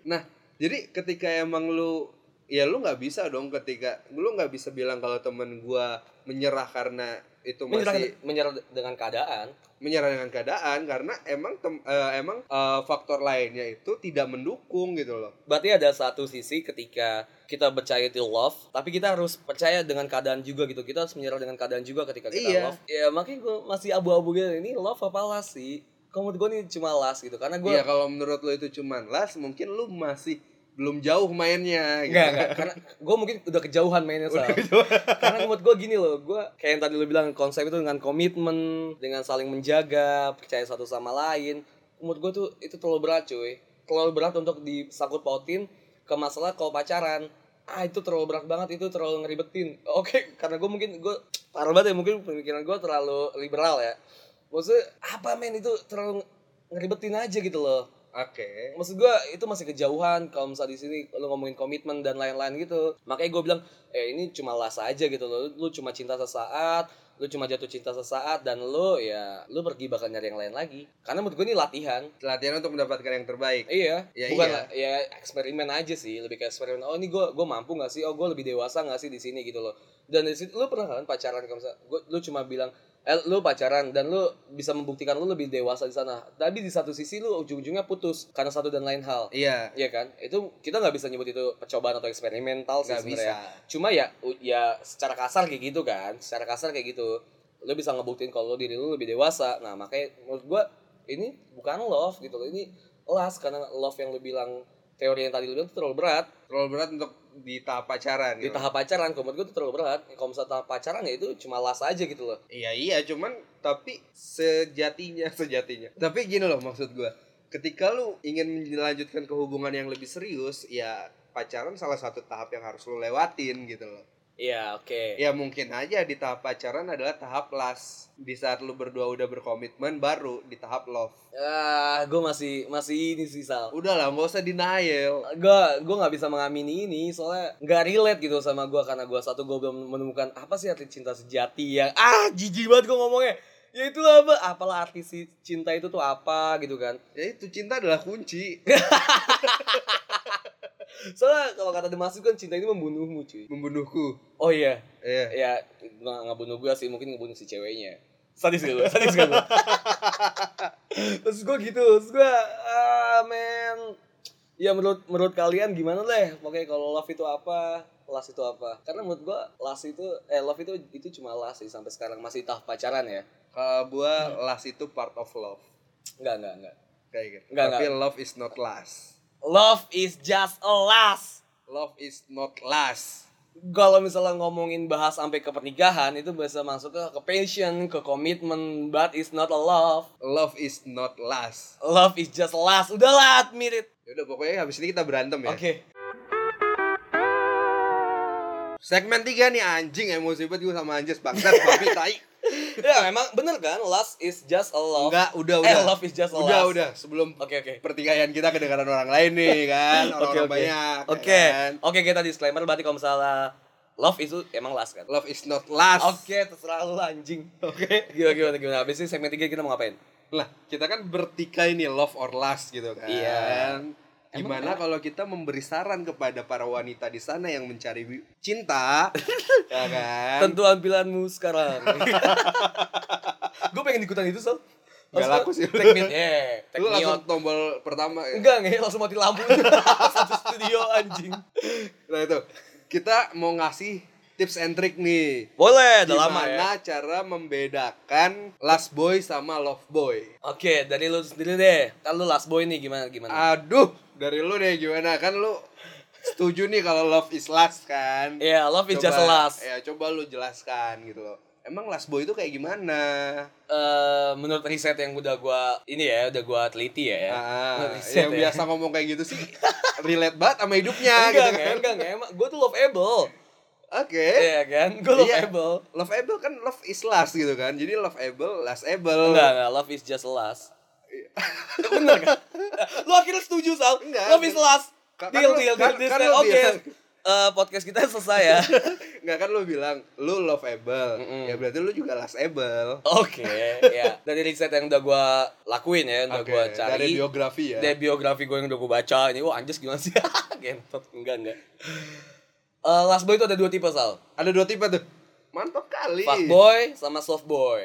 Speaker 1: nah jadi ketika emang lu ya lu nggak bisa dong ketika lu nggak bisa bilang kalau temen gua menyerah karena itu masih
Speaker 2: menyerah menyerah dengan keadaan
Speaker 1: menyerah dengan keadaan karena emang tem- eh, emang eh, faktor lainnya itu tidak mendukung gitu loh
Speaker 2: berarti ada satu sisi ketika kita percaya itu love tapi kita harus percaya dengan keadaan juga gitu kita harus menyerah dengan keadaan juga ketika kita
Speaker 1: Iya.
Speaker 2: love ya makanya gue masih abu-abu gitu ini love apa las sih kalau menurut gue nih cuma las gitu karena gue
Speaker 1: Iya kalau menurut lo itu cuman las mungkin lu masih belum jauh mainnya gitu.
Speaker 2: Enggak, enggak. Karena gue mungkin udah kejauhan mainnya Sal. Karena menurut gue gini loh, gue kayak yang tadi lu bilang konsep itu dengan komitmen, dengan saling menjaga, percaya satu sama lain. Menurut gue tuh itu terlalu berat cuy. Terlalu berat untuk disangkut pautin ke masalah kalau pacaran. Ah itu terlalu berat banget, itu terlalu ngeribetin. Oke, karena gue mungkin, gue parah banget ya, mungkin pemikiran gue terlalu liberal ya. Maksudnya apa men itu terlalu ngeribetin aja gitu loh
Speaker 1: Oke.
Speaker 2: maksud gua itu masih kejauhan kalau misalnya di sini lo ngomongin komitmen dan lain-lain gitu makanya gue bilang eh ini cuma las aja gitu lo lu cuma cinta sesaat lu cuma jatuh cinta sesaat dan lo ya lu pergi bakal nyari yang lain lagi karena menurut gue ini latihan
Speaker 1: Latihan untuk mendapatkan yang terbaik.
Speaker 2: iya
Speaker 1: Ya,
Speaker 2: bukan
Speaker 1: iya.
Speaker 2: lah- ya eksperimen aja sih lebih ke eksperimen oh ini gue gue mampu nggak sih oh gue lebih dewasa nggak sih di sini gitu loh dan di situ lu pernah kan pacaran kalau misalnya gua, lu cuma bilang eh lu pacaran dan lu bisa membuktikan lu lebih dewasa di sana tapi di satu sisi lu ujung-ujungnya putus karena satu dan lain hal
Speaker 1: Iya.
Speaker 2: Iya kan? Itu kita nggak bisa nyebut itu percobaan atau eksperimental sih
Speaker 1: Nggak bisa.
Speaker 2: sebenarnya. Cuma ya u- ya secara kasar kayak gitu kan. Secara kasar kayak gitu. Lo bisa ngebuktiin kalau lo diri lo lebih dewasa. Nah, makanya menurut gua ini bukan love gitu loh. Ini las karena love yang lo bilang teori yang tadi lo bilang itu terlalu berat
Speaker 1: Terlalu berat untuk di tahap pacaran.
Speaker 2: di
Speaker 1: gitu.
Speaker 2: tahap pacaran kalau menurut gua itu terlalu berat kalau misalnya tahap pacaran ya itu cuma las aja gitu loh
Speaker 1: Iya iya cuman tapi sejatinya (laughs) sejatinya. Tapi gini loh maksud gua. Ketika lu ingin melanjutkan ke hubungan yang lebih serius, ya pacaran salah satu tahap yang harus lu lewatin gitu loh.
Speaker 2: iya oke
Speaker 1: Ya mungkin aja di tahap pacaran adalah tahap las. Di saat lu berdua udah berkomitmen baru di tahap love.
Speaker 2: ah gue masih masih ini sih Sal
Speaker 1: Udahlah, nggak usah denial.
Speaker 2: gue gue nggak bisa mengamini ini soalnya nggak relate gitu sama gue karena gue satu gue belum menemukan apa sih arti cinta sejati yang ah jijik banget gue ngomongnya ya itulah apa apalah arti si cinta itu tuh apa gitu kan
Speaker 1: Ya itu cinta adalah kunci
Speaker 2: soalnya kalau kata Demasku kan cinta ini membunuhmu cuy
Speaker 1: membunuhku.
Speaker 2: oh iya
Speaker 1: Iya.
Speaker 2: ya nggak nggak bunuh gue sih mungkin ngebunuh si ceweknya sadis gak gue sadis gak gue (laughs) terus gue gitu terus gue ah men ya menurut menurut kalian gimana leh pokoknya kalau love itu apa las itu apa karena menurut gue las itu eh love itu itu cuma las sih sampai sekarang masih tahap pacaran ya
Speaker 1: Kalau gua lust itu part of love.
Speaker 2: enggak enggak enggak
Speaker 1: Kayak gitu.
Speaker 2: Nggak,
Speaker 1: Tapi love is not lust.
Speaker 2: love is just a last
Speaker 1: Love is not lust.
Speaker 2: kalau misalnya ngomongin bahas sampai ke pernikahan itu bisa masuk ke ke passion, ke komitmen, but it's not a love.
Speaker 1: Love is not last.
Speaker 2: Love is just last. Udahlah, admit it.
Speaker 1: Yaudah pokoknya habis ini kita berantem ya.
Speaker 2: Oke.
Speaker 1: Segmen 3 nih anjing emosi banget gue sama Anjas bangsat babi tai.
Speaker 2: ya memang bener kan last is just a (laughs) love.
Speaker 1: Enggak, udah
Speaker 2: eh,
Speaker 1: udah.
Speaker 2: love is just a
Speaker 1: udah
Speaker 2: last.
Speaker 1: udah sebelum
Speaker 2: Oke oke.
Speaker 1: pertikaian kita kedengaran orang lain
Speaker 2: (laughs)
Speaker 1: nih kan,
Speaker 2: Oke
Speaker 1: orang-orang
Speaker 2: oke.
Speaker 1: banyak. ya
Speaker 2: Oke.
Speaker 1: kan?
Speaker 2: Oke kita disclaimer berarti kalau misalnya love itu emang last kan.
Speaker 1: Love is not last.
Speaker 2: Oke, terserah lu anjing.
Speaker 1: Oke.
Speaker 2: Gimana gimana gimana. Habis ini segmen 3 kita mau ngapain?
Speaker 1: Lah, kita kan bertikai nih love or lust gitu kan.
Speaker 2: Iya.
Speaker 1: Gimana kalau kita memberi saran kepada para wanita di sana yang mencari wi-
Speaker 2: (laughs)
Speaker 1: cinta, ya kan?
Speaker 2: Tentuan pilihanmu
Speaker 1: (laughs)
Speaker 2: sekarang. gue pengen ikutan itu, Sal.
Speaker 1: Gak
Speaker 2: Langsung-
Speaker 1: laku sih.
Speaker 2: Take me, eh, take
Speaker 1: Lu
Speaker 2: me out.
Speaker 1: langsung tombol pertama ya.
Speaker 2: Enggak, nge, langsung mati lampu. (laughs) Satu studio anjing.
Speaker 1: Nah itu, kita mau ngasih tips and trick nih.
Speaker 2: Boleh, udah lama ya.
Speaker 1: Gimana cara membedakan last boy sama love boy?
Speaker 2: Oke, dari lu sendiri deh. Kan lu last boy nih
Speaker 1: Ah,
Speaker 2: gimana gimana.
Speaker 1: Aduh, dari lu deh gimana? Kan lu setuju nih kalau love is last kan?
Speaker 2: Iya, love is just a last.
Speaker 1: Ya, coba lu jelaskan gitu loh. Emang last boy itu kayak gimana?
Speaker 2: Eh, menurut riset yang udah gua ini ya, udah gua teliti ya. ya.
Speaker 1: Ah,
Speaker 2: Menurut riset
Speaker 1: yang
Speaker 2: ya.
Speaker 1: biasa ngomong kayak gitu sih relate banget sama hidupnya
Speaker 2: Enggak,
Speaker 1: gitu
Speaker 2: nge,
Speaker 1: kan.
Speaker 2: enggak, nge, emang gue tuh loveable.
Speaker 1: Oke.
Speaker 2: Iya kan? Gue
Speaker 1: Iya.
Speaker 2: loveable.
Speaker 1: Love able kan love is last gitu kan. Jadi love able, last able.
Speaker 2: Enggak, enggak, love is just last. Bener kan? Lu akhirnya setuju, Sal?
Speaker 1: Iya. Enggak.
Speaker 2: Love is last.
Speaker 1: Kan- kan
Speaker 2: Deal,
Speaker 1: lu-
Speaker 2: deal, deal,
Speaker 1: kan-
Speaker 2: deal.
Speaker 1: kan
Speaker 2: deal.
Speaker 1: lu
Speaker 2: Oke,
Speaker 1: bilang.
Speaker 2: Eh, podcast kita selesai
Speaker 1: (laughs)
Speaker 2: ya.
Speaker 1: Nggak kan lu bilang lu love able.
Speaker 2: Mm-mm.
Speaker 1: Ya berarti lu juga last able.
Speaker 2: Oke, ya. Dari riset yang udah gua lakuin ya, yang udah
Speaker 1: Oke,
Speaker 2: gua cari.
Speaker 1: Dari biografi ya.
Speaker 2: Dari biografi gue yang udah gue baca ini, wah anjir gimana sih? (laughs) Gentot, enggak, enggak. Eh, last boy itu ada dua tipe, Sal.
Speaker 1: Ada dua tipe tuh. Mantap kali.
Speaker 2: Fuckboy sama soft boy.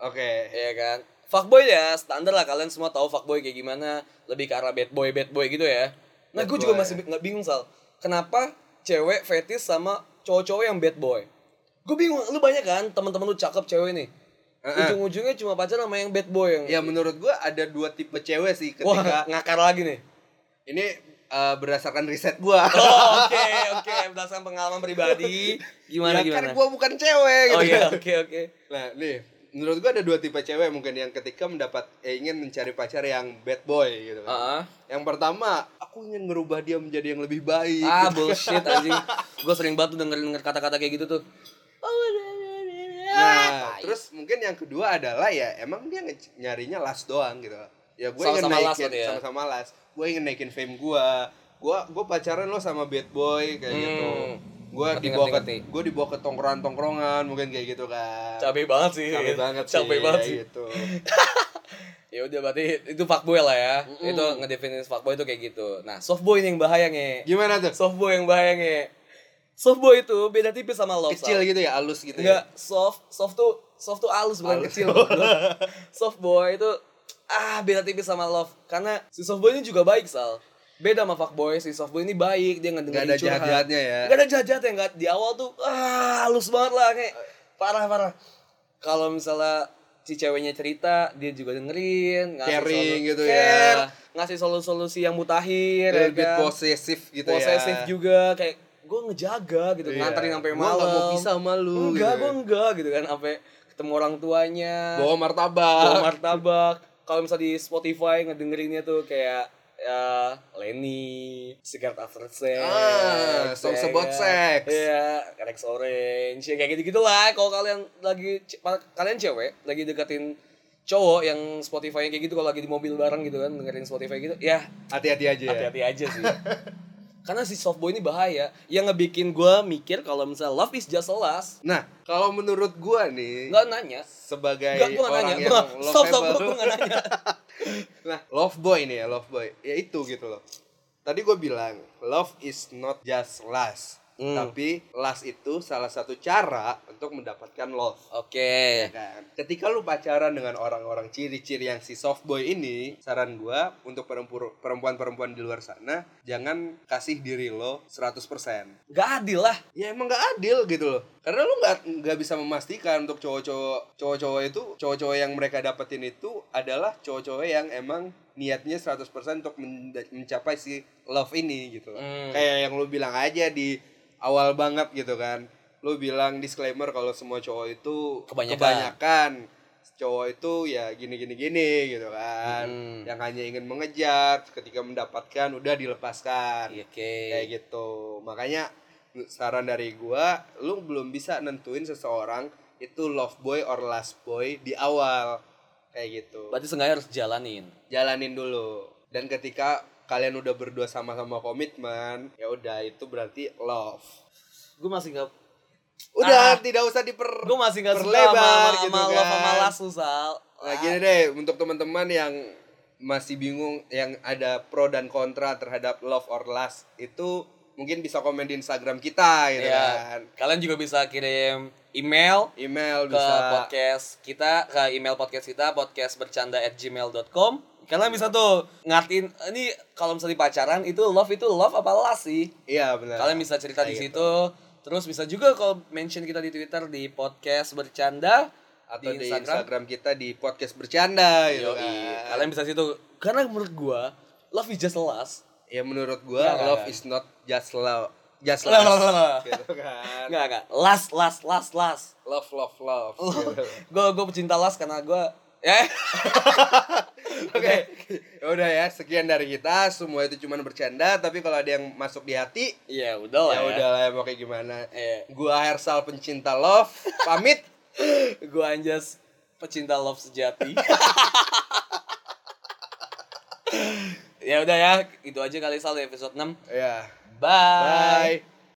Speaker 1: Oke.
Speaker 2: Iya kan? Fuckboy ya, standar lah kalian semua tahu fuckboy kayak gimana, lebih ke arah bad boy, bad boy gitu ya. Nah,
Speaker 1: Bad
Speaker 2: gue juga
Speaker 1: boy.
Speaker 2: masih bi- nggak bingung Sal. Kenapa cewek fetis sama cowok-cowok yang bad boy? Gue bingung, lu banyak kan teman-teman lu cakep cewek nih.
Speaker 1: Heeh.
Speaker 2: Ujung-ujungnya cuma pacar sama yang bad boy yang
Speaker 1: Ya menurut gua ada dua tipe cewek sih ketika
Speaker 2: Wah, ngakar lagi nih.
Speaker 1: ini eh, berdasarkan riset gua.
Speaker 2: (laughs) Oh, oke, oke, berdasarkan pengalaman pribadi
Speaker 1: ya
Speaker 2: gimana gimana.
Speaker 1: kan gua bukan cewek gitu.
Speaker 2: Oh iya,
Speaker 1: kan.
Speaker 2: (laughs) oke, oke.
Speaker 1: Nah, nih menurut gua ada dua tipe cewek mungkin yang ketika mendapat eh, ingin mencari pacar yang bad boy gitu. kan.
Speaker 2: Heeh.
Speaker 1: Yang pertama, aku ingin ngerubah dia menjadi yang lebih baik.
Speaker 2: Ah
Speaker 1: gitu.
Speaker 2: bullshit anjing. Gue sering banget tuh dengerin denger kata-kata kayak gitu tuh.
Speaker 1: Nah, terus mungkin yang kedua adalah ya emang dia nge- nyarinya las doang gitu. Ya gue ingin
Speaker 2: Sama-sama las
Speaker 1: naikin
Speaker 2: berarti ya?
Speaker 1: sama-sama las. Gue ingin naikin fame gue. Gue gue pacaran lo sama bad boy kayak
Speaker 2: Hmm.
Speaker 1: gitu. Gue
Speaker 2: Ngerti,
Speaker 1: dibawa
Speaker 2: ngerti,
Speaker 1: ke
Speaker 2: ngerti.
Speaker 1: gue dibawa ke tongkrongan-tongkrongan mungkin kayak gitu kan.
Speaker 2: Cabe banget sih.
Speaker 1: Capek banget sih.
Speaker 2: Cabe banget
Speaker 1: kayak
Speaker 2: sih.
Speaker 1: gitu.
Speaker 2: Ya udah berarti itu fuckboy lah ya. Itu ngedefinisi fuckboy itu kayak gitu. Nah, softboy ini yang bahaya nge.
Speaker 1: Gimana tuh?
Speaker 2: Softboy yang bahaya nge. Softboy itu beda tipis sama love.
Speaker 1: Kecil
Speaker 2: Sal.
Speaker 1: gitu ya, halus gitu
Speaker 2: Enggak,
Speaker 1: ya.
Speaker 2: soft, soft tuh soft tuh halus bukan
Speaker 1: Halus.
Speaker 2: kecil. (laughs) soft boy itu ah beda tipis sama love karena si soft boy ini juga baik sal. Beda sama fuckboy, si soft boy ini baik, dia
Speaker 1: Enggak
Speaker 2: ngedengerin
Speaker 1: ada
Speaker 2: curhat.
Speaker 1: jahat-jahatnya ya.
Speaker 2: Gak ada jahat-jahat ya, gak, di awal tuh ah, halus banget lah kayak parah-parah. Kalau misalnya si ceweknya cerita, dia juga dengerin, ngasih
Speaker 1: Caring
Speaker 2: solu-
Speaker 1: gitu
Speaker 2: care,
Speaker 1: ya.
Speaker 2: ngasih solusi-solusi yang mutahir, ya
Speaker 1: Lebih
Speaker 2: kan?
Speaker 1: posesif gitu ya.
Speaker 2: posesif juga kayak gue ngejaga gitu,
Speaker 1: Iya.
Speaker 2: nganterin sampai
Speaker 1: Gua
Speaker 2: malam.
Speaker 1: nggak mau pisah sama lu,
Speaker 2: Enggak,
Speaker 1: gitu.
Speaker 2: gue enggak gitu kan sampai ketemu orang tuanya,
Speaker 1: Bawa martabak.
Speaker 2: bawa martabak. Kalau misalnya di Spotify ngedengerinnya tuh kayak ya Lenny, Cigarette After Sex,
Speaker 1: Ah, Songs
Speaker 2: ya
Speaker 1: About
Speaker 2: kan?
Speaker 1: Sex.
Speaker 2: Iya, Rex Orange, ya kayak gitu-gitu lah. Kalau kalian lagi ce- pa- kalian cewek lagi deketin cowok yang Spotify kayak gitu kalau lagi di mobil bareng gitu kan dengerin Spotify gitu, ya
Speaker 1: Hati-hati aja ya.
Speaker 2: hati-hati aja sih. Karena si softboy ini bahaya, yang ngebikin gue mikir kalau misalnya love is just a lust,
Speaker 1: Nah, kalau menurut gua nih
Speaker 2: nggak nanya,
Speaker 1: sebagai
Speaker 2: nggak gue
Speaker 1: orang
Speaker 2: nanya,
Speaker 1: yang
Speaker 2: Gua-
Speaker 1: love
Speaker 2: stop stop
Speaker 1: able.
Speaker 2: gue nggak nanya.
Speaker 1: (laughs) Nah, love boy nih ya, love boy. Ya itu gitu loh. Tadi gue bilang, love is not just lust.
Speaker 2: Hmm.
Speaker 1: Tapi lust itu salah satu cara untuk mendapatkan love.
Speaker 2: Oke,
Speaker 1: Kan? Ketika lu pacaran dengan orang-orang ciri-ciri yang si soft boy ini, saran gua untuk perempu- perempuan-perempuan di luar sana, jangan kasih diri lo 100%.
Speaker 2: nggak adil lah.
Speaker 1: Ya emang gak adil gitu loh. Karena lu nggak nggak bisa memastikan untuk cowok-cowok cowok-cowok itu, cowok-cowok yang mereka dapetin itu adalah cowok-cowok yang emang niatnya 100% untuk men- mencapai si love ini gitu loh.
Speaker 2: Hmm.
Speaker 1: Kayak yang lu bilang aja di awal banget gitu kan lu bilang disclaimer kalau semua cowok itu
Speaker 2: Kebanyakan.
Speaker 1: kebanyakan. cowok itu ya gini gini gini gitu kan
Speaker 2: Hmm.
Speaker 1: yang hanya ingin mengejar ketika mendapatkan udah dilepaskan
Speaker 2: Iya, oke.
Speaker 1: kayak gitu makanya saran dari gua lu belum bisa nentuin seseorang itu love boy or last boy di awal kayak gitu
Speaker 2: Berarti seenggaknya harus jalanin.
Speaker 1: jalanin dulu dan ketika kalian udah berdua sama-sama komitmen ya udah itu berarti love
Speaker 2: Gue masih nggak
Speaker 1: udah tidak usah diper
Speaker 2: gue masih nggak suka
Speaker 1: Perlebar
Speaker 2: sama,
Speaker 1: gitu
Speaker 2: sama lo
Speaker 1: kan.
Speaker 2: sama las lu, Sal.
Speaker 1: Nah, gini deh untuk teman-teman yang masih bingung yang ada pro dan kontra terhadap love or lust itu mungkin bisa komen di Instagram kita gitu
Speaker 2: Ya,
Speaker 1: kan.
Speaker 2: kalian juga bisa kirim email
Speaker 1: Email Iya,
Speaker 2: ke
Speaker 1: bisa
Speaker 2: podcast kita ke email podcast kita podcastbercanda@gmail.com. Kalian bisa tuh ngatin ini kalau misalnya pacaran itu love itu love apa las sih?
Speaker 1: Iya gitu. benar.
Speaker 2: Kalian bisa cerita di
Speaker 1: Kayak
Speaker 2: situ. Terus bisa juga kalau mention kita di Twitter di podcast bercanda
Speaker 1: atau di Instagram. kita di podcast bercanda gitu
Speaker 2: Yoi.
Speaker 1: kan.
Speaker 2: Kalian bisa situ. Karena menurut gua love is just last.
Speaker 1: Ya menurut gua
Speaker 2: Iya,
Speaker 1: love
Speaker 2: kan?
Speaker 1: is not just love, just
Speaker 2: Lah,
Speaker 1: love.
Speaker 2: lah, lah, lah.
Speaker 1: gitu kan.
Speaker 2: Enggak, enggak. Last, last, last, last.
Speaker 1: Love love love.
Speaker 2: (laughs)
Speaker 1: gitu.
Speaker 2: Gue gue pecinta last karena gue
Speaker 1: (laughs)
Speaker 2: ya (laughs)
Speaker 1: Oke. Ya udah ya, sekian dari kita. Semua itu cuma bercanda, tapi kalau ada yang masuk di hati
Speaker 2: ya udah lah
Speaker 1: ya Eh.
Speaker 2: ya.
Speaker 1: udah lah mau kayak gimana.
Speaker 2: Iya.
Speaker 1: Gua Hersal pencinta love (laughs) pamit.
Speaker 2: Gue anjas pecinta love
Speaker 1: (laughs)
Speaker 2: sejati. ya udah ya, itu aja kali Sal di episode 6.
Speaker 1: Ya.
Speaker 2: Bye.
Speaker 1: Bye.